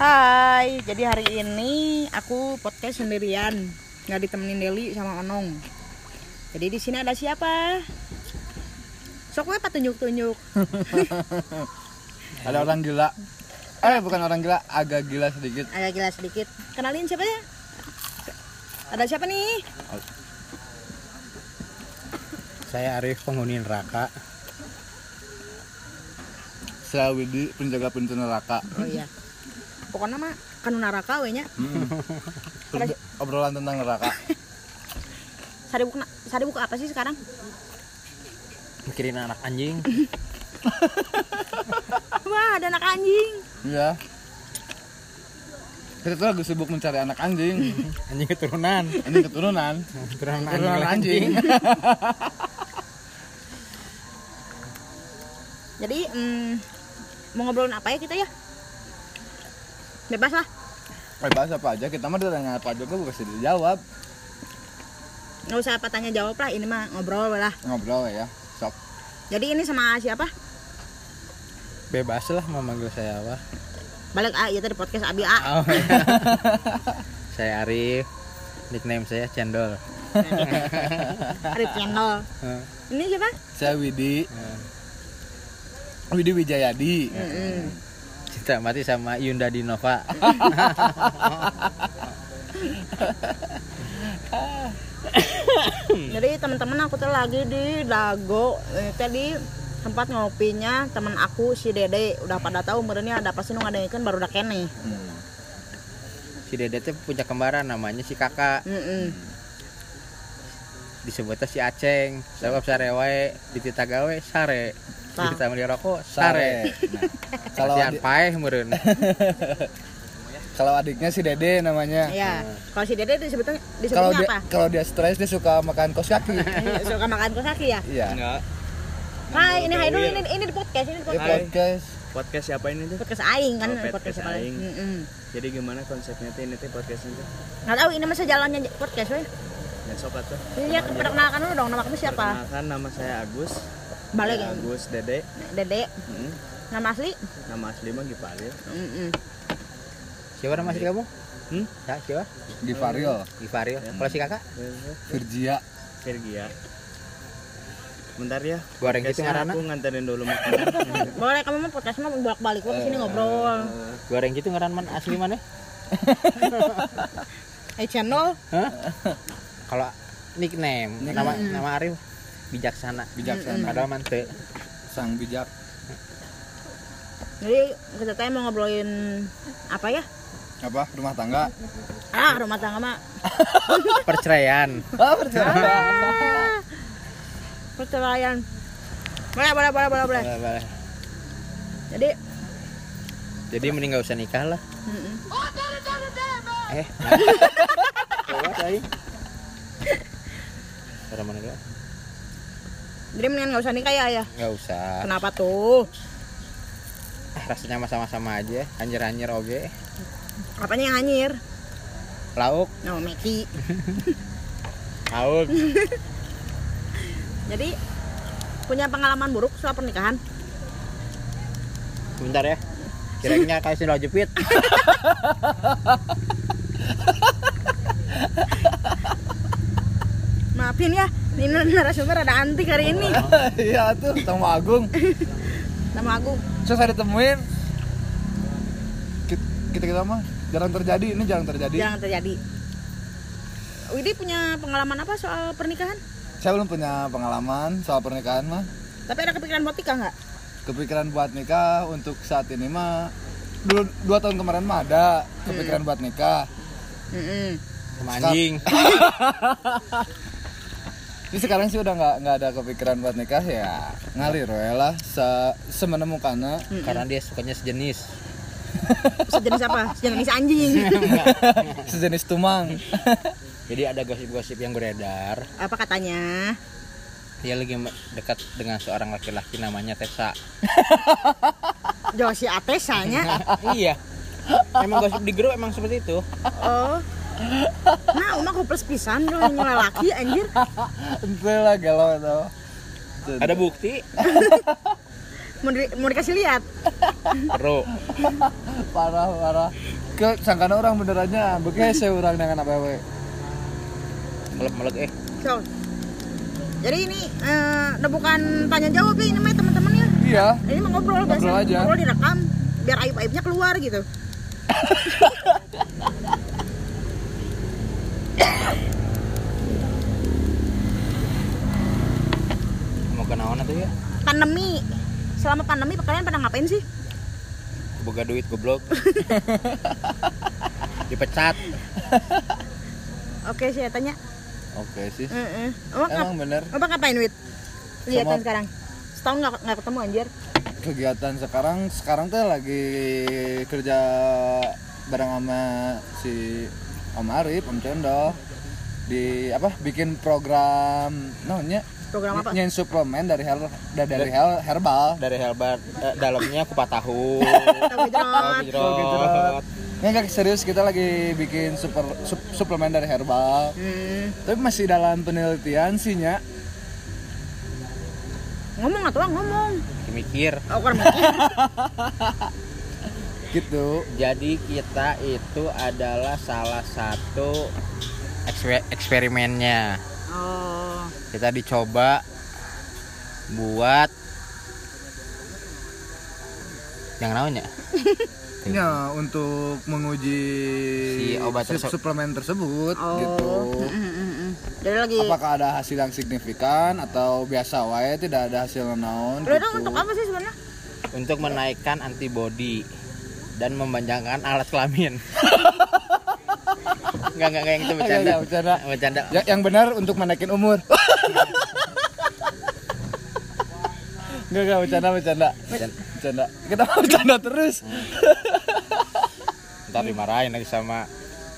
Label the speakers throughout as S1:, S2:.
S1: Hai, jadi hari ini aku podcast sendirian, nggak ditemenin Deli sama Onong. Jadi di sini ada siapa? Sok apa tunjuk-tunjuk.
S2: Ada orang gila. Eh bukan orang gila, agak gila sedikit.
S1: Agak gila sedikit. Kenalin siapa ya? Ada siapa nih?
S3: Saya Arif penghuni neraka.
S2: Saya Widi, penjaga pintu neraka.
S1: Oh iya. Pokoknya mah kanu naraka we nya. Hmm.
S2: Terus Obrolan tentang neraka.
S1: Sari buku sari buku apa sih sekarang?
S3: Mikirin anak anjing.
S1: Wah, ada anak anjing.
S2: Iya. Kita tuh lagi sibuk mencari anak anjing.
S3: Anjing keturunan.
S2: Anjing keturunan.
S3: Keturunan anjing.
S2: Keturunan
S3: lagi.
S2: anjing.
S1: Jadi mm, mau ngobrolin apa ya kita ya? Bebas lah.
S2: Eh bahas apa aja, kita mah ditanya apa aja, gue bisa dijawab.
S1: Nggak usah apa tanya jawab lah, ini mah ngobrol lah.
S2: Ngobrol ya, sok.
S1: Jadi ini sama siapa?
S3: Bebas lah mau manggil saya apa.
S1: Balik A, ya tadi podcast Abi A.
S3: Oh, iya. saya Arif. Nickname saya Cendol.
S1: Arif channel.
S3: Heeh.
S1: Ini siapa?
S2: Saya Widi,
S3: Ya.
S2: Widi Wijayadi.
S3: Cinta mati sama Yunda Dinova.
S1: Jadi teman-teman aku tuh lagi di Dago. Eh, Tadi tempat ngopinya teman aku si Dede udah pada tahu merenya ada apa sih nu ngadain baru udah kene.
S2: Hmm.
S3: Si Dede tuh punya kembaran namanya si Kakak.
S1: Mm-mm.
S3: Disebutnya si Aceng. Sebab sarewae ditita gawe sare.
S1: Tah.
S3: Ditita beli rokok Nah. sare.
S2: Sare. Nah, kalau
S3: Kalau
S2: adik-
S3: paeh meureun.
S2: kalau adiknya si Dede namanya.
S1: Iya. Kalau si Dede disebutnya
S2: Kalau
S1: disebutnya
S2: dia
S1: apa?
S2: kalau dia stres dia suka makan kos kaki.
S1: Eh, Suka makan kosaki ya?
S2: Iya.
S1: Hai, ini hai dulu ini ini di podcast, ini di
S2: Dia
S1: podcast.
S2: podcast.
S4: podcast siapa ini tuh?
S1: Podcast aing kan
S4: Oh,
S1: podcast,
S4: podcast
S1: apa lagi?
S4: aing.
S1: Mm-mm.
S4: Jadi gimana konsepnya teh ini teh podcastnya tuh?
S1: Nggak tahu ini masa jalannya podcast weh.
S4: Dan sobat tuh.
S1: Iya, perkenalkan dulu dong nama kamu siapa?
S4: Perkenalkan nama saya Agus.
S1: Balik
S4: Saya
S1: ya.
S4: Agus Dede.
S1: Dede.
S4: Mm-mm.
S1: Nama asli?
S4: Nama asli mah Gipalil.
S1: Mm-mm.
S3: Siapa nama si kamu?
S4: Hmm?
S3: Ya, siapa?
S2: Givaril,
S3: Ivaril. Kalau si Kakak?
S2: Virgia.
S4: Virgia. Bentar ya.
S3: Goreng gitu
S4: podcastnya
S3: ngaranna.
S4: Aku nganterin dulu makanan.
S1: Boleh kamu mah podcast mah bolak-balik ke sini ngobrol.
S3: goreng gitu ngaran man asli mana
S1: Eh channel
S3: Hah? kalau nickname, nama nama Arif bijaksana
S2: Bijaksana.
S3: padahal mante
S2: sang bijak
S1: Jadi kita teh mau ngobrolin apa ya?
S2: apa rumah tangga
S1: Ah, rumah tangga mah.
S3: perceraian
S2: oh percaya
S1: Ah, perceraian. Boleh, boleh, boleh, boleh, boleh.
S3: Boleh, boleh.
S1: Jadi,
S3: jadi mending gak usah nikah lah
S1: mm-mm.
S3: eh lewat aing Suara mana dulu?
S1: jadi mendingan nggak usah nikah ya ya.
S3: Gak usah
S1: Kenapa tuh?
S3: Ah, rasanya mah sama-sama aja anjir-anjir oge
S1: Apanya yang anjir?
S3: lauk
S1: No, Meki.
S3: lauk
S1: Jadi punya pengalaman buruk setelah pernikahan?
S3: bentar ya kira-kira kasih lo jepit
S1: Maafin ya, ini narasumber ada antik hari ini.
S2: iya tuh sama Agung
S1: Nama Agung.
S2: susah ditemuin kita kita mah jarang terjadi ini jarang terjadi
S1: Jangan terjadi. Widi punya pengalaman apa soal pernikahan?
S2: saya belum punya pengalaman soal pernikahan mah
S1: Tapi ada kepikiran buat nikah nggak?
S2: kepikiran buat nikah untuk saat ini mah dulu dua tahun kemarin mah ada kepikiran buat nikah
S1: Mm-mm.
S3: sama anjing
S2: Jadi sekarang sih udah nggak nggak ada kepikiran buat nikah ya ngalir we lah se semenemukannya
S3: karena dia sukanya sejenis
S1: Sejenis apa? Sejenis anjing.
S2: sejenis tumang
S3: Jadi ada gosip-gosip yang beredar,
S1: Apa katanya?
S3: dia lagi me- dekat dengan seorang laki-laki namanya Tessa.
S1: Josi Atesanya.
S3: iya. Emang gosip di grup emang seperti itu.
S1: Oh. Nah, umah koples pisan lu nyela laki anjir.
S2: ente lah galau tau
S3: Ada bukti.
S1: mau, di- mau dikasih lihat
S3: Ro.
S2: parah parah ke sangkana orang benerannya bekese orang dengan apa we
S3: Melek-melek eh.
S1: so jadi ini eh, udah bukan tanya jawab ya ini mah teman-teman ya
S2: iya
S1: ini mah ngobrol biasa
S2: Ngobrol aja.
S1: ngobrol direkam biar aib aibnya keluar gitu
S3: Mau kenaon atuh ya?
S1: pandemi selama pandemi kalian pernah ngapain sih
S3: Boga duit goblok. Dipecat.
S1: oke saya tanya
S2: oke sih
S1: Heeh. Abang ngap-
S2: emang bener
S1: abang ngapain wit kelihatan
S2: Sama-
S1: sekarang setahun nggak nggak ketemu anjir
S2: kegiatan sekarang sekarang teh lagi kerja bareng sama si Om Arif Om Cendol di apa bikin program namanya
S1: program apa
S2: nyain suplemen dari her da- dari her- herbal
S3: Dari Helbar eh, dalamnya Oh, kupat tahu.
S1: Tahu
S3: Tahu
S1: jerot.
S3: jerot.
S2: nggak serius kita lagi bikin super sup- suplemen dari herbal
S1: Hmm,
S2: tapi masih dalam penelitian sih nya
S1: ngomong atau ngomong
S3: Mikir.
S1: aku kan mikir.
S2: gitu
S3: Jadi kita itu adalah salah satu eksper- eksperimennya.
S1: oh
S3: Kita dicoba buat yang namanya
S2: ya untuk menguji
S3: Si obat
S2: sup-
S3: tersebut.
S2: suplemen tersebut
S1: oh
S2: gitu
S1: Mm, mm, mm. jadi lagi
S2: apakah ada hasil yang signifikan atau biasa wae tidak ada hasil naon
S1: Lu itu
S2: gitu.
S1: untuk apa sih sebenarnya?
S3: untuk menaikkan antibodi dan memanjangkan alat kelamin. Enggak enggak enggak yang itu
S2: Enggak,
S3: bercanda.
S2: enggak, bercanda.
S3: Bercanda.
S2: Ya, yang benar untuk menaikkan umur Enggak, enggak, bercanda, bercanda
S3: Bercanda.
S2: Bercanda Kita mau bercanda terus
S3: Ntar dimarahin lagi sama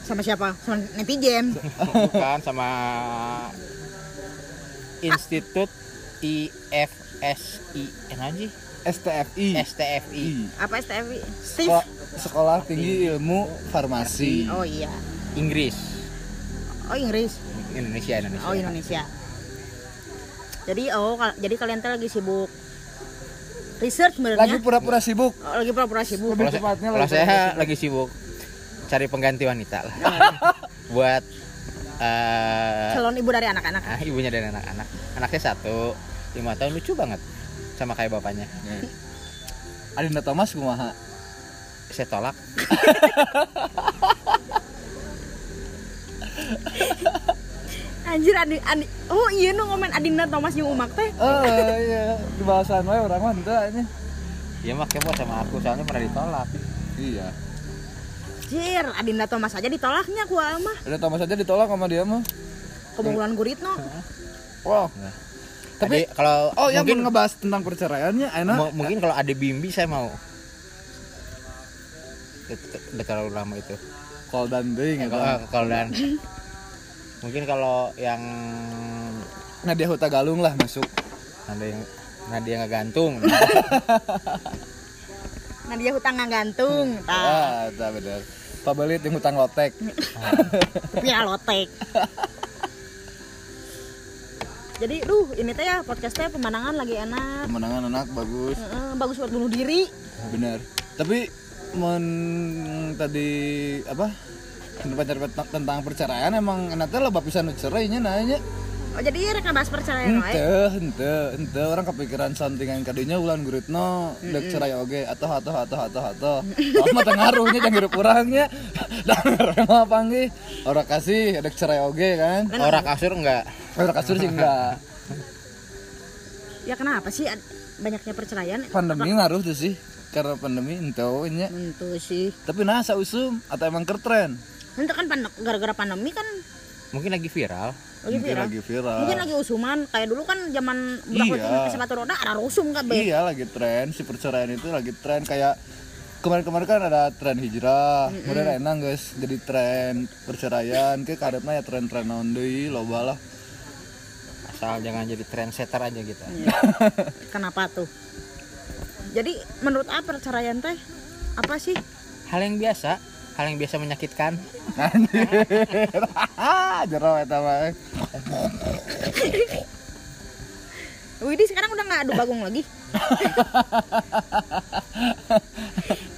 S1: Sama siapa? Sama netizen.
S3: bukan sama Institut IFSI eh, naon sih?
S2: STFI
S3: STFI.
S1: Apa STFI? Steve.
S2: Sekolah, Sekolah Tinggi Ilmu Farmasi
S1: Oh iya.
S3: Inggris
S1: Oh Inggris.
S3: Indonesia Indonesia
S1: Oh Indonesia. Jadi oh kal- jadi kalian tuh lagi sibuk research
S2: Lagi
S1: sebenarnya.
S2: pura-pura sibuk
S1: Oh, Lagi pura-pura sibuk.
S2: Lebih
S3: kalau saya,
S2: tepatnya
S3: kalau
S2: lagi
S3: saya
S2: pura-pura
S3: lagi sibuk cari pengganti wanita lah buat eh,
S1: Calon ibu dari anak-anak.
S3: ah, ibunya dan anak-anak anaknya satu lima tahun lucu banget sama kayak bapaknya
S2: Adinda Thomas kumaha
S3: saya tolak
S1: Anjir Adi, Adi. Oh iya nu ngomen Adinda Thomas jeung Umak teh.
S2: Oh iya, di bahasan wae orang mah henteu nya.
S3: dia mah kepo sama aku soalnya pernah ditolak
S2: Iya.
S1: Anjir, Adinda Thomas aja ditolaknya ku mah.
S2: Ada Thomas aja ditolak sama dia mah.
S1: Kemulan Guritno.
S2: Eh. Wow.
S3: tapi kalau
S2: Oh, yang
S3: mungkin
S2: mungkin ngebahas tentang perceraiannya enak.
S3: mu- mungkin kalau ada bimbi saya mau Udah- udah terlalu lama itu
S2: Call dan ding ya kan?
S3: kalau
S2: eta.
S3: kalau dan mungkin kalau yang
S2: Nadia Nah, Huta Galung lah masuk.
S3: ada yang Nadia nggak gantung
S1: Nah dia hutang nggak gantung. Tah,
S2: Ah, eta bener. Pak Belit yang hutang lotek.
S1: punya ya, lotek. Jadi, duh ini teh ya podcastnya pemandangan lagi enak.
S2: Kemenangan anak bagus.
S1: Heeh, bagus buat bunuh diri.
S2: Bener. Tapi men tadi apa? Pendapat tentang perceraian emang enaknya loba pisan nu cerai nya nanya.
S1: Oh jadi rek bahas perceraian wae.
S2: Ente, ente, ente orang kepikiran sampingan kadinya ulan guritno dek cerai oge atau atau atau atau atau lama tengaruhnya jangan hidup orangnya dan mah panggil orang kasih dek cerai oge kan
S3: orang kasur nggak
S2: orang kasur sih enggak
S1: Ya kenapa sih ad- banyaknya perceraian?
S2: pandemi ngaruh tuh sih karena pandemi ente nya
S1: Tentu sih.
S2: tapi nah sausum atau emang kertren
S1: Nanti kan pandem- gara-gara pandemi kan
S3: mungkin lagi viral
S1: lagi Oh,
S2: mungkin
S1: iya, viral.
S2: lagi viral
S1: Mungkin lagi usuman kayak dulu kan zaman berapa
S2: Iya.
S1: iya. sepatu roda ada rusum kabeh.
S2: Iya lagi tren si perceraian itu lagi tren kayak kemarin-kemarin kan ada tren hijrah, kemudian enak guys jadi tren perceraian ke karepna ya tren-tren naon deui loba lah.
S3: asal jangan jadi trendsetter aja gitu
S2: Iya.
S1: Kenapa tuh? Jadi menurut apa perceraian teh? Apa sih?
S3: hal yang biasa hal yang biasa menyakitkan
S2: Anjir. Jero eta mah. eh. Eh,
S1: Widih sekarang udah nggak ada bagung lagi.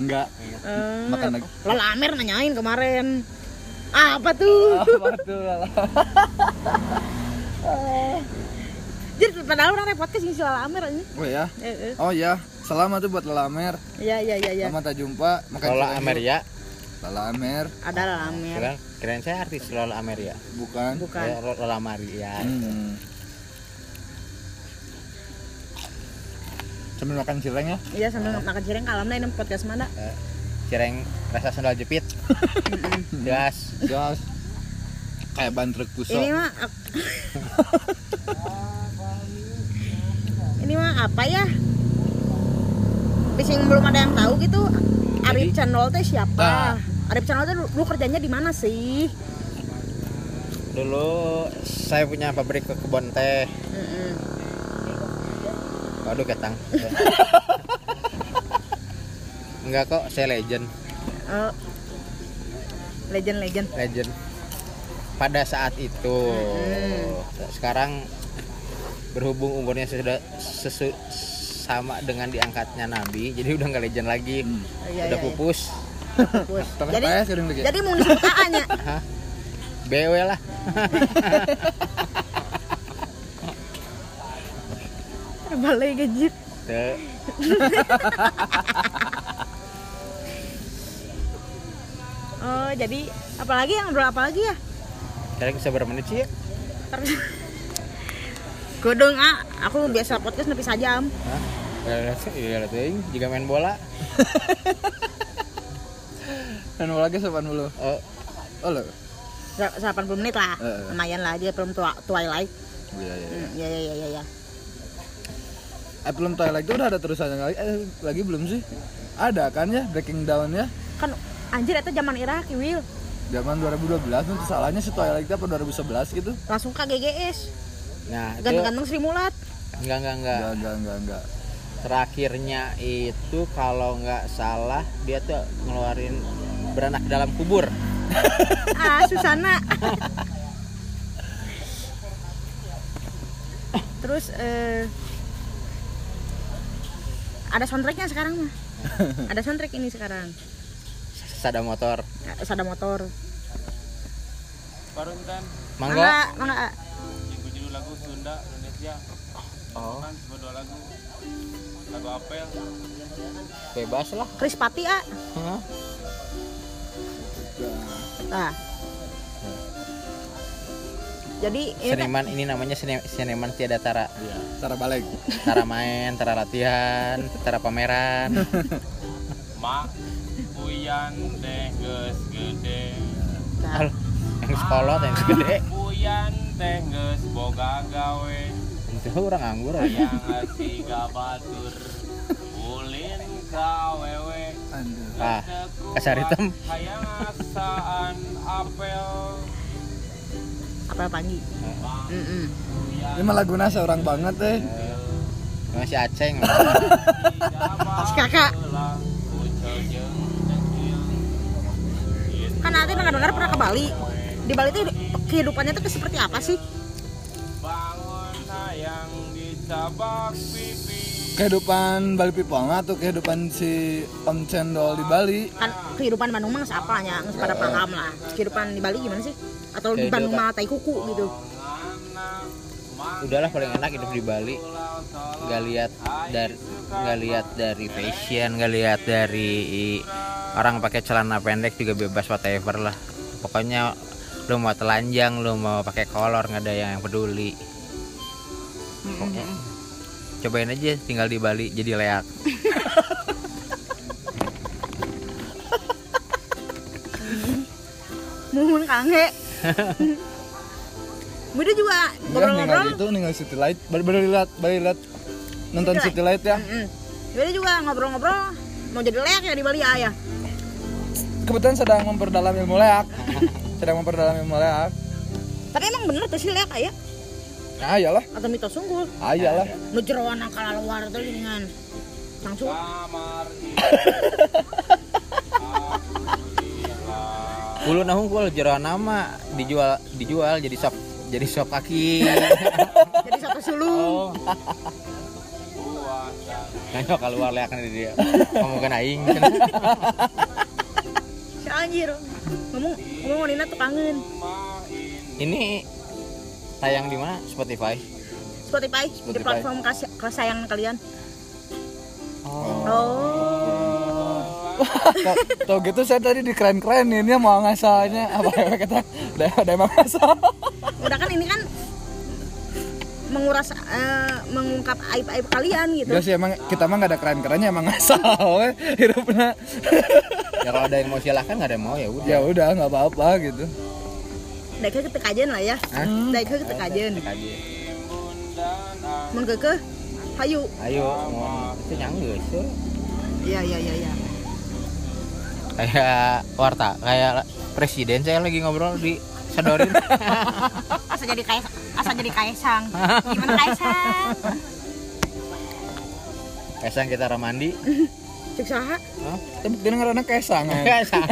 S2: Enggak.
S1: Eh,
S2: Makan lagi.
S1: Lala Amer nanyain kemarin. Apa tuh?
S2: Apa tuh? Lala?
S1: Jadi padahal orang repot sih si Lala Amer ini.
S2: Oh ya.
S1: Eh, eh.
S2: Oh ya. Selamat tuh buat Lalamer.
S1: Iya iya iya iya.
S2: Lama tak jumpa. Makan
S3: Lola
S2: cilok.
S3: Ameria
S2: Lalamer
S1: Ada Lala Amer.
S3: keren keren Ya kan? saya artis Lola Ameria
S2: bukan.
S1: Bukan.
S3: Saya Lola ya. Maria
S2: Hmm. Sambil makan cireng ya.
S1: Iya sambil makan cireng kalam nah ini podcast mana?
S3: cireng rasa sendal jepit jelas
S2: Gas. Kayak ban truk pusok.
S1: Ini mah ak- Ini mah apa ya? Bising belum ada yang tahu gitu. Arif Channel teh siapa? Arif Channel teh dulu dulu kerjanya di mana sih?
S3: dulu saya punya pabrik ke kebun teh
S1: Mm-mm.
S3: waduh ketang enggak kok saya legend
S1: Eh, legend legend.
S3: legend pada saat itu
S1: Mm-hmm.
S3: sekarang berhubung umurnya sudah sesu- sama dengan diangkatnya Nabi jadi udah nggak legend lagi
S1: Oh, iya,
S3: udah
S1: iya, iya.
S3: pupus
S1: Push.
S2: Terus
S1: Jadi
S2: saya sering lagi.
S1: jadi mau disebut AA nya.
S3: BW lah
S1: Balai gajit.
S3: Tuh.
S1: Oh, jadi apalagi yang ngobrol apalagi ya?
S3: sekarang bisa berapa menit sih ya?
S1: Ter- Godong A, aku biasa podcast nepi sajam.
S3: Hah? Ya, ya, ya, ya, ting. jika main bola
S2: Dan mau lagi sopan dulu.
S3: eh,
S2: Oh lo.
S1: Sa- 80 menit lah.
S2: Eh.
S1: Lumayan lah dia belum tua twilight.
S2: Iya iya.
S1: Hmm, Iya iya iya iya. Ya.
S2: Eh belum Twilight itu udah ada terusannya lagi, eh, lagi belum sih? Ada kan ya Breaking Down ya?
S1: Kan anjir itu zaman Irak, Will.
S2: Zaman 2012 itu salahnya si Twilight itu apa 2011 gitu?
S1: Langsung ke GGS.
S3: nah itu
S1: Ganteng-ganteng Sri Mulat.
S3: enggak enggak enggak
S2: Enggak enggak enggak enggak.
S3: terakhirnya itu kalau nggak salah dia tuh ngeluarin beranak dalam kubur
S1: Ah, Susana. Terus eh, ada soundtracknya sekarang mah. Ada soundtrack ini sekarang.
S3: sada motor
S1: Terus ada motor.
S3: mangga
S1: mangga. A.
S3: bebas lah
S1: Kris Pati, A.
S3: Hah?
S1: Nah. Jadi ini teh-
S3: seniman ini namanya seni- seniman tiada tara
S2: Cara balik.
S3: tara main tara latihan tara pameran
S5: Mak, Uyan teh geus gede.
S1: Nah.
S3: Aduh, yang sekolah yang gede
S5: Uyan teh geus boga gawe,
S3: itu orang anggur aja
S5: yang siga batur. Ulin ka wewe,
S2: Aduh.
S3: ah kasar hitam
S5: hayang asaan apel.
S1: apel pagi. Mm-mm.
S2: Ini malah guna seorang banget eh.
S3: Emang si aceng
S1: Pas kakak kan nanti dengar dengar pernah ke Bali. Di Bali itu kehidupannya tuh seperti apa sih?
S5: Bangun hayang dicabak pipi.
S2: Kehidupan Bali Piponga atau kehidupan si Om Cendol di Bali
S1: Kan kehidupan Bandung mah nggak apa ya, nggak pada paham lah. Kehidupan di Bali gimana sih? Atau di
S3: Kayak
S1: Bandung
S3: dia,
S1: mah tai kuku gitu.
S3: udahlah paling enak hidup di Bali nggak lihat dari nggak lihat dari fashion nggak lihat dari orang pakai celana pendek juga bebas whatever lah pokoknya lu mau telanjang lu mau pakai kolor nggak ada yang peduli Pokoknya, cobain aja tinggal di Bali jadi leak
S1: Mumun kange. Muda juga
S2: Enggak Iya, ninggal
S1: ngobrol-ngobrol.
S2: itu ninggal City Light Baru baru lihat baru lihat Nonton
S1: City
S2: City Light ya
S1: Mm. Muda juga ngobrol-ngobrol mau jadi leak ya di Bali ya ya.
S2: Kebetulan sedang memperdalam ilmu leak Sedang memperdalam ilmu leak
S1: Tapi emang bener tuh sih leak ya?
S2: Nah iyalah
S1: Atau mitos sungguh?
S2: Ah iyalah
S1: nu jeroan angkala luar tuh dengan langsung
S3: Ulu nahungkul jeroan nama dijual dijual jadi sop jadi sop kaki
S1: jadi satu sulung
S5: Buah
S3: Nanya keluar lihat di dia. Kamu kan aing.
S1: Si anjir. Ngomong ngomong wanita tukangan.
S3: Ini tayang di mana? Spotify.
S1: Spotify, di
S2: Spotify.
S1: platform kas- kesayangan kalian.
S3: Oh.
S1: Oh.
S2: Tau- Tau gitu saya tadi dikeren-kerenin ya mau ngasalnya apa ya kita udah udah emang ngasal.
S1: Udah kan ini kan menguras eh, mengungkap aib-aib kalian gitu.
S2: Enggak Iya sih emang kita mah gak ada keren-kerennya emang ngasal we hidupnya.
S3: Ya kalau ada yang mau silahkan nggak ada yang mau ya udah.
S2: ya udah nggak apa-apa gitu.
S1: Daik kita kajian lah ya.
S3: Hah?
S1: Daik kita kajian.
S3: Tadi.
S1: Mun kekeh, hayu.
S3: Ayo, mau itu nyanggeus. tuh.
S1: Iya iya iya iya.
S3: Kayak warta, kayak presiden saya lagi ngobrol di sedorin.
S1: Asa jadi kayak asa jadi kaisang. Gimana kaisang?
S3: Kaisang kita ramandi.
S1: Cek saha?
S2: Tapi buktinya ngerana kesang. ya.
S3: Kaisang.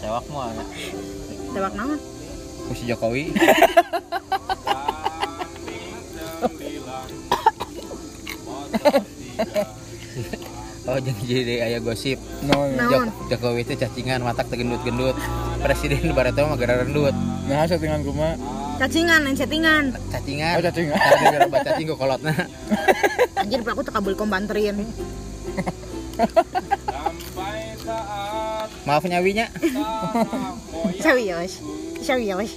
S3: Cewek mau anak.
S1: Dewak naon?
S3: Ku si Jokowi. Oh jadi jadi ayah gosip.
S2: No, no.
S1: Naon?
S3: Jok- Jokowi itu cacingan matak tegendut-gendut. Presiden bareta mah gara rendut.
S2: Nah, settingan kuma.
S1: Cacingan, lain settingan.
S2: Oh,
S3: Cacingan.
S2: cacing.
S3: Tapi gara baca cinggu kolotna.
S1: Anjir pelaku teu kabul kombanterin.
S3: Maaf nyawinya.
S1: Serius. Serius.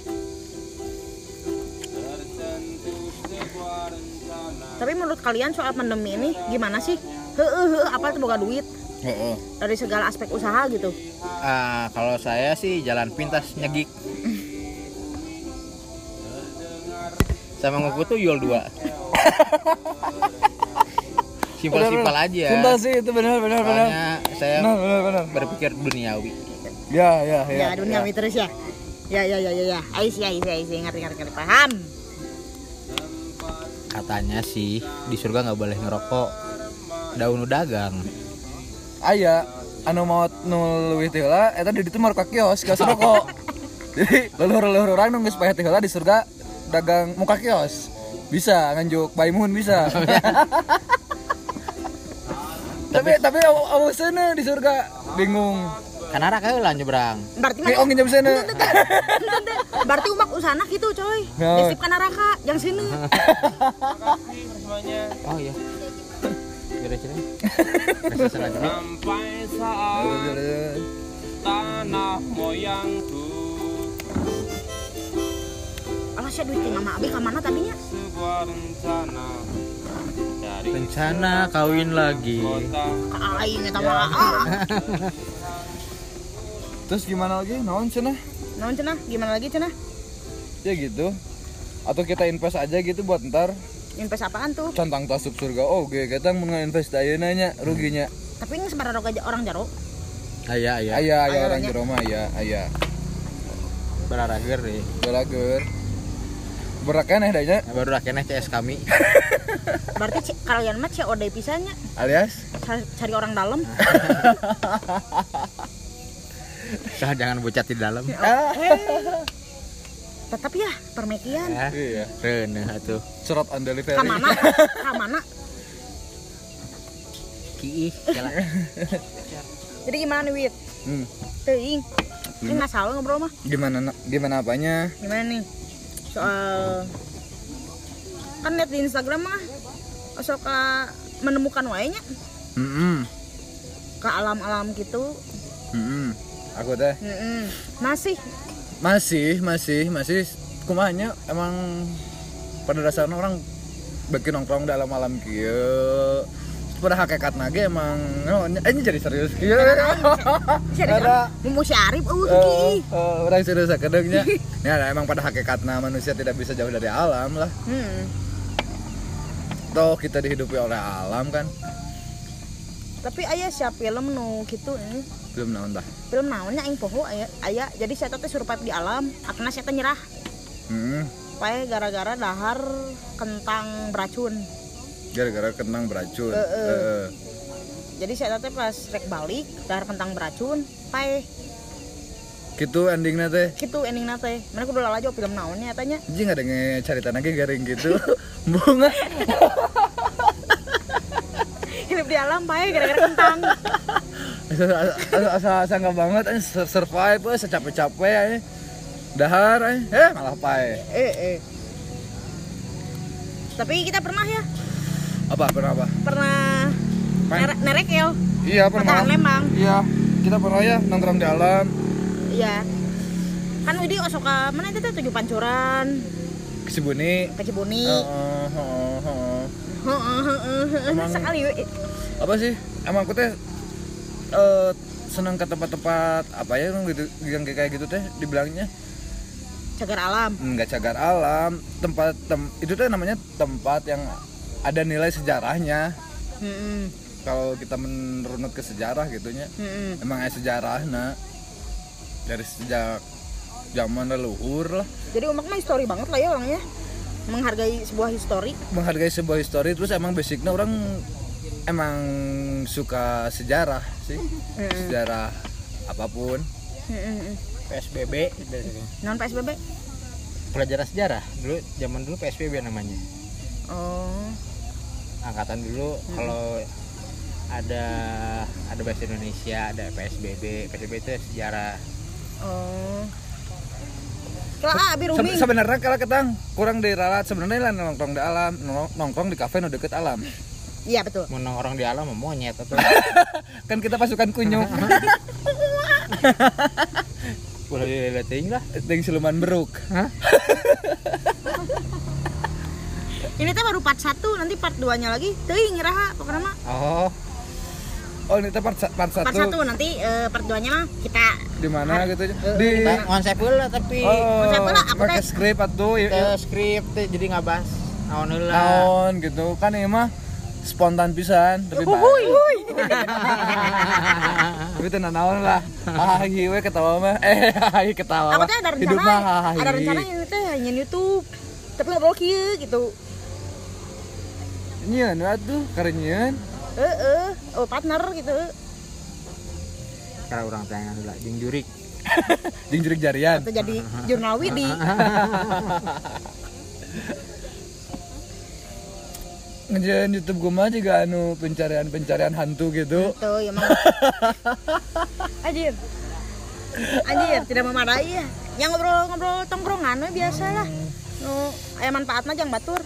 S1: Tapi menurut kalian soal pandemi ini gimana sih? Heeh, heeh, apa tuh boga duit
S2: Heeh.
S1: dari segala aspek usaha gitu.
S3: Ah, kalau saya sih jalan pintas nyegik. Sama nguku tuh yul dua. Simpel-simpel aja.
S2: Sumpah sih itu benar-benar benar.
S3: Soalnya saya
S2: Benar benar benar.
S3: berpikir duniawi.
S2: Ya ya ya.
S1: Ya, duniawi terus ya. Ya ya ya ya ya. Ais ya, ais ya, ais ya. Ngerti ngerti ngerti. Paham.
S3: Katanya sih di surga nggak boleh ngerokok. Daun dagang.
S2: Aya anu mau nu leuwih teh heula eta di ditu marka kios, kios rokok. Jadi leluhur-leluhur urang nu geus payah teh heula di surga dagang muka kios. Bisa nganjuk baimun bisa. tapi tapi awu sana di surga bingung.
S3: Karena raka Kan lah nyebrang.
S1: Berarti mah
S2: Kayak ongin jam sana.
S1: berarti umak usahana gitu, coy.
S2: Ya.
S1: Desip kana raka, yang sini.
S3: Oh iya. Kira -kira.
S5: Sampai saat tanah moyangku
S1: Alah sia duit tinggal mah abi ka mana tadinya?
S5: sebuah rencana dari
S3: Rencana kawin lagi.
S5: kota
S1: Ka aing eta mah. ah.
S2: Terus gimana lagi? Naon cenah?
S1: Naon cenah? Nah, Gimana lagi cenah?
S2: Ya gitu. Atau kita invest aja gitu buat ntar
S1: Invest apaan tuh?
S2: cantang tasub surga. Oh, oke, kita mau invest aja nanya ruginya.
S1: Tapi ini sebarang orang jaro.
S3: Aya
S2: Aya,
S3: aya.
S2: aya
S1: Aya
S2: orang
S1: nanya.
S2: jero mah aya, aya.
S3: Bararager deh.
S2: Belager. Berakan eh danya
S3: Nah, baru akhirnya CS kami.
S1: Berarti ci- kalian mah COD pisannya
S2: alias
S1: cari, cari orang dalam.
S3: Sah jangan bucat di dalam.
S2: Ya.
S1: Tetap ya permekian.
S3: Ya.
S2: iya.
S3: Reuneuh atuh.
S2: Surat on delivery.
S1: Ka mana? Ka mana?
S3: Kiih. jalan.
S1: Jadi gimana nih, Wit?
S2: Hmm.
S1: Teuing. Ini masalah ngobrol mah.
S2: Gimana na- gimana apanya?
S1: Gimana nih? Soal kan lihat di Instagram mah sok ka menemukan wae nya
S2: Mm-mm.
S1: ke alam-alam gitu.
S2: Mm-mm. Aku teh
S1: Mm-mm. Masih
S2: masih masih masih kumahnya emang pada dasarnya orang bagi nongkrong dalam alam kieu pada hakikat nage emang oh, nya- eh, ini jadi serius kieu Ada.
S1: ada kan? mau si Arif eueuh
S2: Eh,
S1: uh, ki.
S2: eh, orang serius akedengnya ya lah, emang pada hakikatnya manusia tidak bisa jauh dari alam lah
S1: Hmm.
S2: toh kita dihidupi oleh alam kan
S1: Tapi ayah siap film nu gitu ini.
S2: belum naon dah
S1: film naonnya aing poho aya aya jadi saya teh survive di alam akhirnya saya teh nyerah
S2: Mm-mm.
S1: pae gara-gara dahar kentang beracun
S2: gara-gara kenang beracun
S1: Eh, eh.
S2: Heeh.
S1: jadi saya teh pas rek balik dahar kentang beracun pae
S2: gitu endingnya teh
S1: gitu ending nate mana kudu lala aja film naonnya tanya
S2: Jing ada ngecarita lagi garing gitu Bunga
S1: hidup di alam pae gara-gara kentang
S2: Asa- asa- asa- Asa asa nggak banget eh, sur- survive eh, secapek-capek eh. Dahar eh, eh malah pae
S1: eh eh tapi kita pernah ya
S2: Apa pernah apa?
S1: pernah
S2: Main-
S1: nere- nerek ya
S2: Iya
S1: kata
S2: pernah
S1: Lembang
S2: Iya kita pernah ya nongkrong di alam
S1: iya kan Widi Osoka mana itu tuh tujuh pancuran
S2: ke Sibuni
S1: ke Cibuni
S2: Heeh, heeh, heeh.
S1: Heeh, heeh, heeh.
S2: Emang-
S1: sekali we.
S2: apa sih emang aku teh eh, seneng ke tempat-tempat apa ya yang gitu yang kayak gitu teh dibilangnya
S1: cagar alam
S2: nggak cagar alam tempat tem- itu teh namanya tempat yang ada nilai sejarahnya
S1: Heeh,
S2: kalau kita menurut ke sejarah gitunya
S1: heeh.
S2: emang ada sejarahnya dari sejak zaman leluhur lah
S1: jadi umak mah histori banget lah ya orangnya menghargai sebuah histori
S2: menghargai sebuah histori terus emang basicnya orang emang suka sejarah sih sejarah apapun
S3: PSBB
S1: non PSBB
S3: pelajaran sejarah dulu zaman dulu PSBB namanya
S1: oh
S3: angkatan
S2: Hmm.
S3: dulu kalau ada ada bahasa Indonesia ada PSBB PSBB itu sejarah
S1: oh kelak abi
S2: Se-
S1: ruming
S2: sebenarnya kalau ketang kurang diralat sebenarnya lah nongkrong di alam nong- nongkrong di kafe nu deket alam
S1: iya betul
S3: mau nongkrong di alam mau monyet atau
S2: kan kita pasukan kunyuk
S3: boleh dilihatin lah
S2: Ting siluman beruk
S1: ini teh baru part 1 nanti part 2 nya lagi teuing raha pokoknya mah
S2: oh oh ini teh part, sa- part
S1: part
S2: satu
S1: 1 nanti eh, part 2 nya mah kita
S2: di mana gitu Eh, di
S3: Kita konsep lah tapi
S2: oh
S1: Konsep lah, aku
S2: pakai
S1: teh.
S2: skrip atau
S3: ke skrip teh jadi nggak bahas naon
S4: Nah,
S3: heula.
S2: naon gitu kan ini mah spontan pisan tapi baik. tapi tenang naon lah hahaha we ketawa mah eh hahaha ketawa
S1: aku
S2: mah
S1: teh ada
S2: hidup
S1: rencana
S2: mah hahaha
S1: ada rencana ini teh hanya YouTube tapi ngobrol kieu gitu
S2: nyeun atuh keren nyeun
S1: eh eh oh partner gitu
S3: karena orang tanya heula jeung jurik
S2: jeung jurig jarian
S1: atau jadi jurnal Widi
S2: ngejalan YouTube gue mah juga anu pencarian pencarian hantu gitu.
S1: gitu ya mah anjir anjir tidak memadai ya yang ngobrol-ngobrol tongkrongan we biasa lah nu aya manfaatna jang batur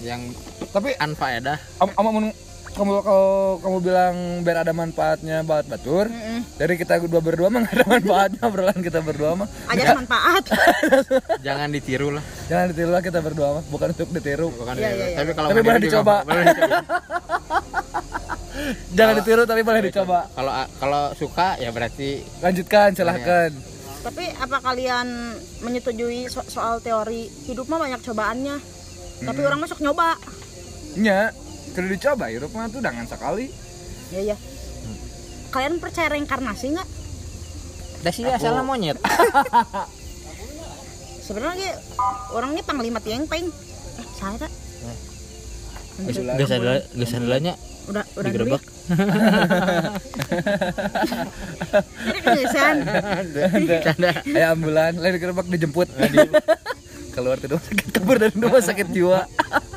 S3: yang
S2: Tapi
S3: anfaedah
S2: am amun kamu kalau kamu bilang biar ada manfaatnya buat batur
S1: Heeh.
S2: dari kita dua berdua mah nggak ada manfaatnya obrolan kita berdua mah
S1: aja ada manfaat
S3: jangan ditiru lah
S2: jangan ditiru lah kita berdua mah bukan untuk ditiru
S3: bukan
S1: Iya,
S3: ditiru.
S1: iya, iya.
S3: tapi kalau
S2: Tapi
S3: mau
S2: boleh
S3: ditiru,
S2: dicoba.
S3: boleh dicoba.
S2: jangan ditiru tapi boleh dicoba
S3: kalau ah, kalau suka ya berarti
S2: lanjutkan silahkan
S1: tapi apa kalian menyetujui so- soal teori hidup mah banyak cobaannya tapi orang masuk nyoba
S2: nya kalau dicoba hirup mah tuh dengan sekali
S1: ya ya kalian percaya reinkarnasi nggak
S3: dah sih asal monyet
S1: sebenarnya ge, orangnya panglima tiang peng eh saya tak
S3: geus ada geus ada lah nya
S1: udah udah
S3: digerebek
S1: jadi kengesan
S3: canda
S2: ayah ambulan lain digerebek dijemput keluar dari rumah sakit kabur dari rumah sakit jiwa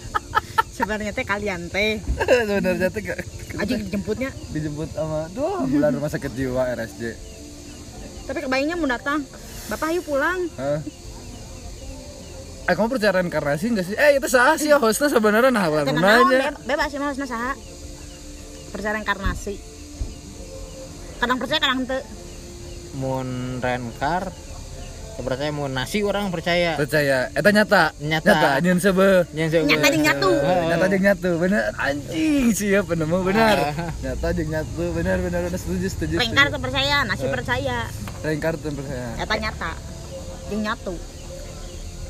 S1: sebenarnya teh kalian teh
S2: sebenarnya tuh nggak-
S1: aja dijemputnya
S2: dijemput sama tuh ambulan rumah sakit jiwa RSJ
S1: tapi kebayangnya mau datang bapak ayo pulang
S2: Hah? Eh, kamu percaya reinkarnasi nggak sih? Eh, itu sah sih ya hostnya sebenarnya nah lah
S1: Tenang naon,
S2: gunanya.
S1: be- bebas ya maksudnya saha percaya reinkarnasi kadang percaya kadang henteu
S3: mun renkar ya percaya mun nasi orang percaya
S2: Percaya, eta nyata.
S3: Nyata.
S2: Nyata, nyen sebe.
S3: yang
S1: nyata jeung nyatu
S2: Nyata jeung nyatu, bener anjing sih ya penemu bener. Nyata jeung nyatu, bener bener bener setuju setuju.
S1: Rengkar
S2: setuju.
S1: teu percaya, nasi
S2: Iya.
S1: percaya,
S2: Rengkar tuh percaya.
S1: eta nyata. Jeung nyatu.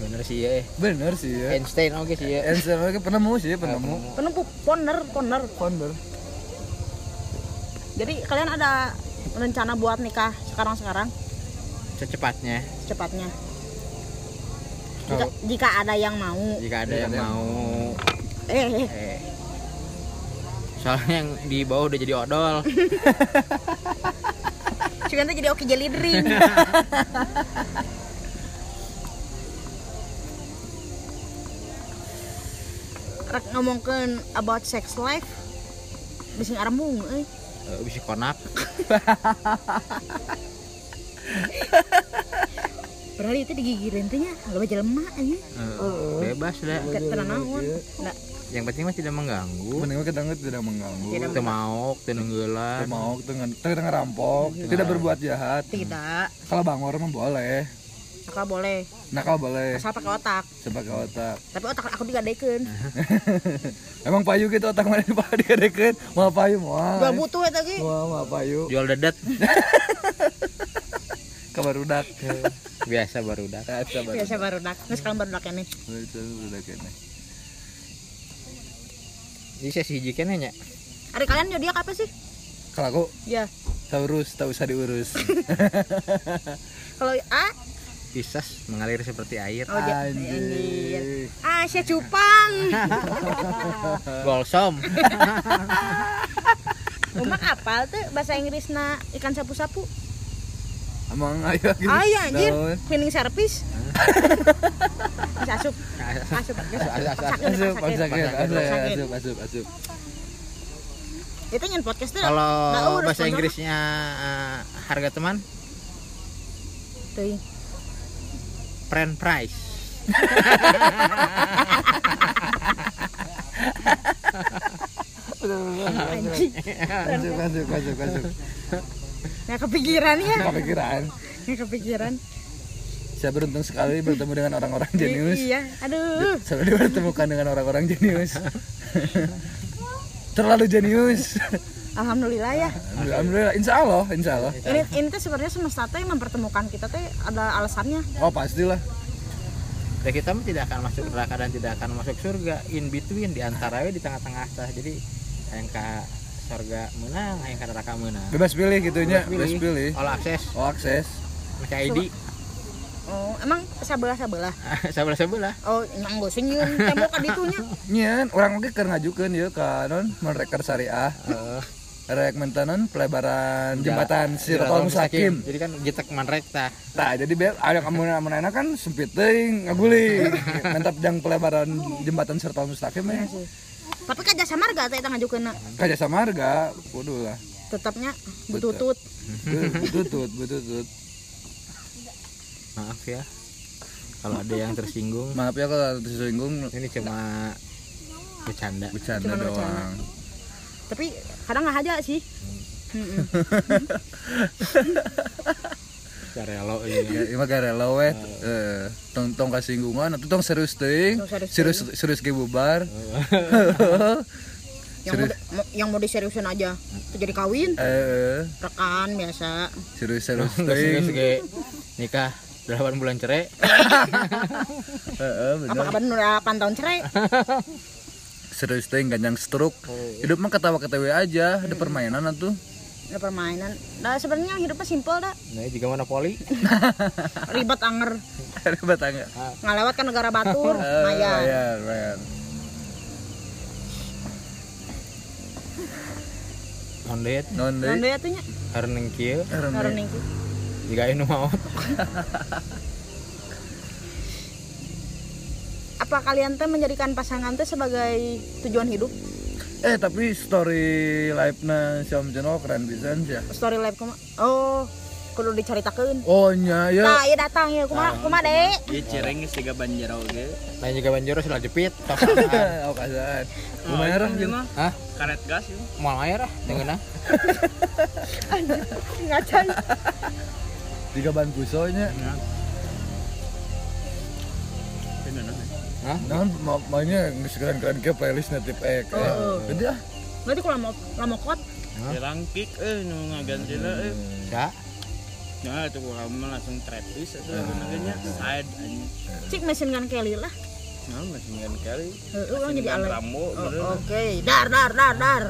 S3: bener sih ya eh.
S2: Bener sih ya.
S3: Einstein oke sih ya
S2: Eh, sebenarnya penemu sih penemu.
S1: Penuh poner, poner.
S2: Founder.
S1: Jadi kalian ada rencana buat nikah sekarang-sekarang
S3: secepatnya
S1: secepatnya? Jika, jika ada yang mau.
S3: jika ada yang mau
S1: Eh, eh,
S3: eh soalnya yang di bawah udah jadi odol
S1: Sugante jadi oke jelly drink. Rek ngomongkeun about sex life. Bisa ngaremung euy.
S3: Eh, bisa konak
S1: Berarti itu ya. digigireun teh nya, loba jelema nya.
S3: Eh, bebas lah
S1: Ketenang naon. Nggak
S3: yang penting mah tidak mengganggu
S2: Mending kita tidak mengganggu.
S1: Tidak
S3: itu mau tenenggelan
S2: mau dengan tidak ngerampok, tidak berbuat jahat.
S1: tidak.
S2: Kalau bangor mah boleh.
S1: Akal boleh,
S2: Nakal boleh.
S1: asal pakai otak.
S2: Sebagai otak.
S1: Tapi otak aku digadekeun.
S2: Emang payu gitu otak mana pak dikedekeun. Mau payu
S1: Gua
S2: mau.
S1: butuh eta ge.
S2: Mau mau
S1: Iya.
S2: payu.
S3: jual dedet
S2: Kabar udak.
S3: biasa baru udah
S2: Kabar
S1: Biasa Ya, baru nak. Nggak sekarang baru nak ini.
S2: udak.
S3: jadi sesi hiji keneh nya
S1: Ada kalian zodiak apa sih?
S2: Kalau aku
S1: Ya.
S2: Taurus, tak usah diurus.
S1: Kalau A,
S3: Pisces mengalir seperti air
S1: oh ja- anjir.
S2: Anjir.
S1: Ah, saya cupang.
S3: Golsom
S1: Umang apal tuh bahasa Inggrisna ikan sapu-sapu.
S2: Emang ayo gitu.
S1: Ah iya anjir,
S2: Naon?
S1: cleaning service. Bisa asup. Asup.
S3: Asup, asup,
S2: Asup, asup,
S1: Sakit.
S2: asup,
S1: Sakit.
S2: asup, asup, asup.
S1: Itu nyen podcast tuh. nggak
S3: kalau
S1: Nah, urus,
S3: bahasa
S1: bener.
S3: Inggrisnya eh, harga teman
S1: Tuh.
S3: friend price
S1: Anjing.
S2: Asup, asup, asup, asup.
S1: Nggak kepikiran ya.
S2: Kepikiran.
S1: Nggak kepikiran.
S2: Saya beruntung sekali bertemu dengan orang-orang
S1: I-
S2: jenius.
S1: Iya. Aduh.
S2: Saya dipertemukan dengan orang-orang jenius. Terlalu jenius.
S1: Alhamdulillah ya.
S2: Alhamdulillah, insya Allah, insya Allah.
S1: Ini ini tuh sebenarnya semesta tuh yang mempertemukan kita tuh ada alasannya.
S2: Oh pastilah.
S3: ya kita mah tidak akan masuk neraka dan tidak akan masuk surga in between di antara we, di tengah-tengah tah jadi yang ke surga menang yang ke neraka menang
S2: Bebas pilih gitunya, bebas pilih.
S3: all akses
S2: Oh akses.
S3: masih ID
S1: Oh, emang sabelah-sabelah.
S3: sebelah sebelah
S1: Oh, emang gue senyum. Tembok kaditunya.
S2: Nyen, orang oke keur ngajukeun ya ka non mereker syariah. Rek menta non pelebaran jembatan Sirotol Musakim.
S3: jadi kan kita manrek tah
S2: Nah, jadi biar ada kamu amun enak kan sempit teuing ngaguling. Mantap jang pelebaran jembatan Sirotol Musakim ya.
S1: Tapi kan jasa marga teh eta ngajukeunna.
S2: Kaja sama harga, waduh lah.
S1: Tetapnya bututut.
S2: Bututut, bututut.
S3: maaf ya kalau ada yang tersinggung
S2: Maaf ya kalau tersinggung
S3: ini cuma bercanda
S2: bercanda
S1: Cuma bercanda.
S2: doang.
S1: Tapi kadang nggak aja sih. Mm-mm.
S3: Carelo ini
S2: Ya, ini mah garelo we. Eh, tong tong kasinggungan atau tong serius teuing.
S1: Tong serius
S2: Serius serius ge bubar.
S1: yang mau, di- mau- yang mau diseriusin aja itu jadi kawin
S2: Eh,
S1: rekan biasa
S2: serius serius
S1: Iya.
S2: teuing.
S3: terus ge nikah 8 bulan cerai
S2: Heeh,
S1: apa
S2: bener.
S1: kabar nu 8 tahun cerai
S2: Serius teuing ganjang stroke. Hidup mah ketawa-ketawa aja, ada permainan atuh.
S1: ada permainan nah sebenarnya hidupnya simpel dah
S3: nah ini juga monopoli
S1: ribet anger
S2: Ada batangga.
S1: ngalewat kan negara batur
S2: Eh,
S1: maya
S2: Lumayan, lumayan.
S3: ondet
S2: Non deui.
S1: non deh atunya
S3: harun yang kieu
S2: Aron deui.
S1: ngaruning ku.
S3: jika ini mau
S1: apa kalian teh menjadikan pasangan teh sebagai tujuan hidup
S2: Eh, tapi story live-na si Om Jono keren pisan sih. ya.
S1: story life kuma oh kudu diceritakeun
S2: Oh nya ya.
S1: nah iya datang ya kuma kuma Iya. dek
S4: Ieu iya, cireng geus siga banjero
S3: lain
S4: ge.
S3: Nah, juga banjir sudah jepit
S2: Oh, kasaan. Lumayan lah gitu.
S3: Hah?
S4: Karet gas yuk.
S3: mau air ah dengan ah
S1: ngacan
S2: Tiga ban kusonya.
S1: Nah.
S3: Hah?
S2: Nah, maunya sekeren keren ke playlist native ek.
S1: Heeh.
S2: Jadi ah,
S1: berarti kalau mau lama kuat
S4: Cireng kick eh nu ngagantina eh.
S3: ya
S4: Nah itu kurang mah langsung trap is
S3: Nah.
S4: atuh lagu nya side anjing.
S1: cik mesin kan Kelly lah
S4: Nah masih ngan kali.
S1: Heeh, orang jadi
S4: Ngan
S1: alay
S4: Rambo
S1: Oh,
S4: bener.
S1: oke dar dar dar dar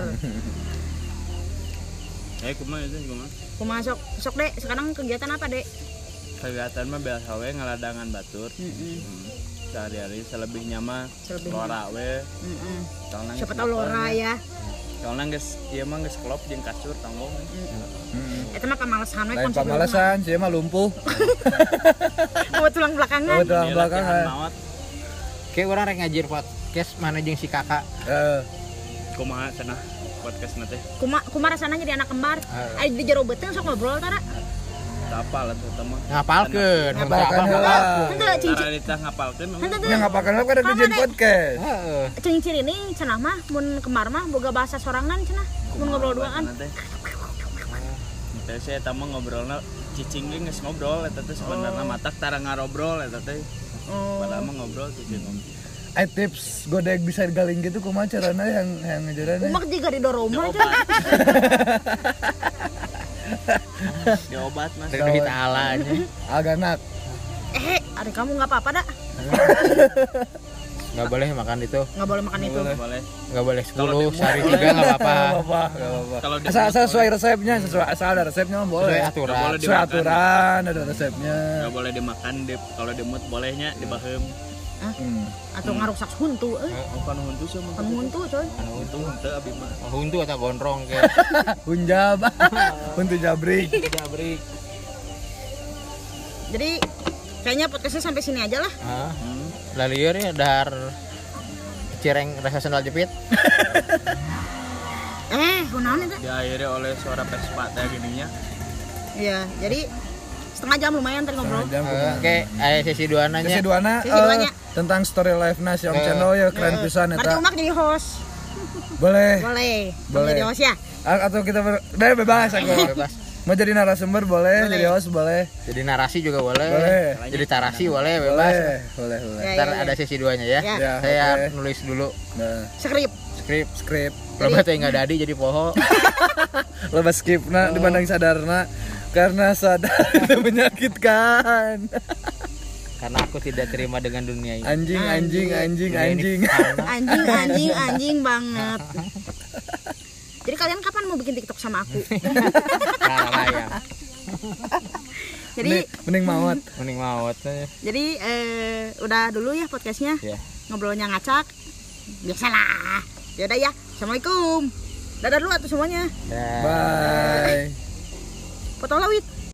S4: Eh kumaha itu kumaha?
S1: kumaha sok sok dek sekarang kegiatan apa dek
S4: Kegiatan mah biasa we ngaladangan batur.
S1: Mm-mm.
S4: Hmm. Sehari-hari selebihnya mah
S1: Selebihnya.
S4: lora we.
S1: Mm-mm.
S4: Tong nangis
S1: siapa tahu
S4: motor,
S1: Lora
S4: nya.
S1: ya
S4: soalnya guys dia mah guys kelop jeung kasur tanggung
S1: Mm. Itu mah pamalesan we
S2: lain
S1: konsep
S2: pamalasan sih mah lumpuh
S1: rumah. Oh, tulang belakangan.
S2: oh dalam
S4: Dia latihan
S2: belakangan
S4: maot
S3: Kayak orang rek ngajir podcast mana jeung si kakak.
S2: Eh,
S4: kumaha cenah podcast nanti
S1: Kuma kuma rasana jadi anak kembar.
S2: Ah.
S1: Ai di jero beuteung sok ngobrol tara.
S4: tapal atau teman
S3: Ngapalkeun,
S2: bahkan heula
S1: Henteu cing
S4: cara ditah ngapalkeun om.
S1: henteu teu.
S2: yang ngapakan apa ada dijin podcast
S3: Heeh.
S1: Cing ciri ini cenah mah mun kembar mah boga bahasa sorangan cenah. Mun ngobrol duaan.
S4: nanti Terus saya tamu ngobrolnya cicing ge geus ngobrol eta teh
S1: Oh.
S4: sebenarnya matak tara ngarobrol eta teh. Padahal mah ngobrol cicing ngobrol.
S2: eh tips godek bisa galing gitu kumaha carana yang yang ya? ngajarannya
S1: Umak juga di doroma aja.
S2: Ya,
S4: Diobat. Diobat Mas.
S3: Teu duit ala aja.
S2: aganak
S1: Eh, ada kamu nggak apa-apa dak?
S3: Enggak boleh makan itu.
S1: Nggak boleh makan itu.
S4: Boleh.
S3: Enggak boleh 10 sehari juga enggak apa-apa.
S2: apa nggak apa-apa
S4: Kalau di
S2: asal asal sesuai resepnya sesuai asal ada resepnya mah boleh
S3: Sesuai aturan.
S4: boleh
S2: sesuai
S4: dimakan.
S2: aturan ada resepnya
S4: nggak boleh dimakan dip kalau demut bolehnya dibahem.
S2: Hmm.
S1: Atau ngaruksak huntu, eh,
S4: Bukan huntu sih mah.
S1: kan huntu coy.
S4: Huntu huntu abi mah.
S3: Huntu atau gondrong ke.
S2: Ah, Punjab untuk Jabrik.
S3: Jabrik.
S1: Jadi kayaknya podcastnya sampai sini aja lah.
S3: Heeh.
S4: Hmm.
S3: Lah lieur ya dar cireng rasa sendal jepit.
S2: Ah.
S1: Eh, kunaon itu?
S4: Diakhiri oleh suara pespa teh gininya.
S1: Iya, jadi setengah jam lumayan tadi ngobrol.
S2: Jam
S3: Heeh, Oke, aya sesi duana
S2: Kasih
S3: nya.
S2: duana
S1: Kasih duana.
S2: eh, tentang story life nas yang channel ya keren pisan
S1: Berarti
S2: eta.
S1: Umak jadi host.
S2: Boleh.
S1: Boleh.
S2: Boleh.
S1: Eh, Boleh jadi host ya.
S2: A- Atau kita ber... Deh, bebas aku.
S3: Bebas.
S2: Mau jadi narasumber boleh, jadi host boleh.
S3: Jadi narasi juga boleh.
S2: Boleh.
S3: Jadi tarasi boleh bebas.
S2: Boleh, boleh, boleh.
S1: Ya,
S3: Ntar
S1: ya, ya.
S3: ada sesi duanya ya.
S1: Ya.
S2: Ya,
S3: Saya
S2: oke.
S3: nulis dulu
S2: Nah,
S1: Skrip.
S3: skrip.
S2: script.
S3: Loba teh nggak dadi jadi poho.
S2: Lepas skip na dibanding sadarna karena sadar itu menyakitkan.
S3: Karena aku tidak terima dengan dunia ini.
S2: Anjing, anjing, anjing,
S3: Dunia ini
S2: anjing.
S3: fana.
S1: Anjing, anjing, anjing banget. Jadi kalian kapan mau bikin TikTok sama aku?
S3: Nah, layang.
S1: Jadi
S2: Mending mawat.
S3: Mending maut aja.
S1: jadi eh, udah dulu ya podcastnya.
S3: Ya.
S1: Ngobrolnya ngacak. Biasalah. Ya udah ya. Assalamualaikum. Dadah dulu atuh semuanya.
S3: Ya.
S2: Bye.
S1: Potong lawit.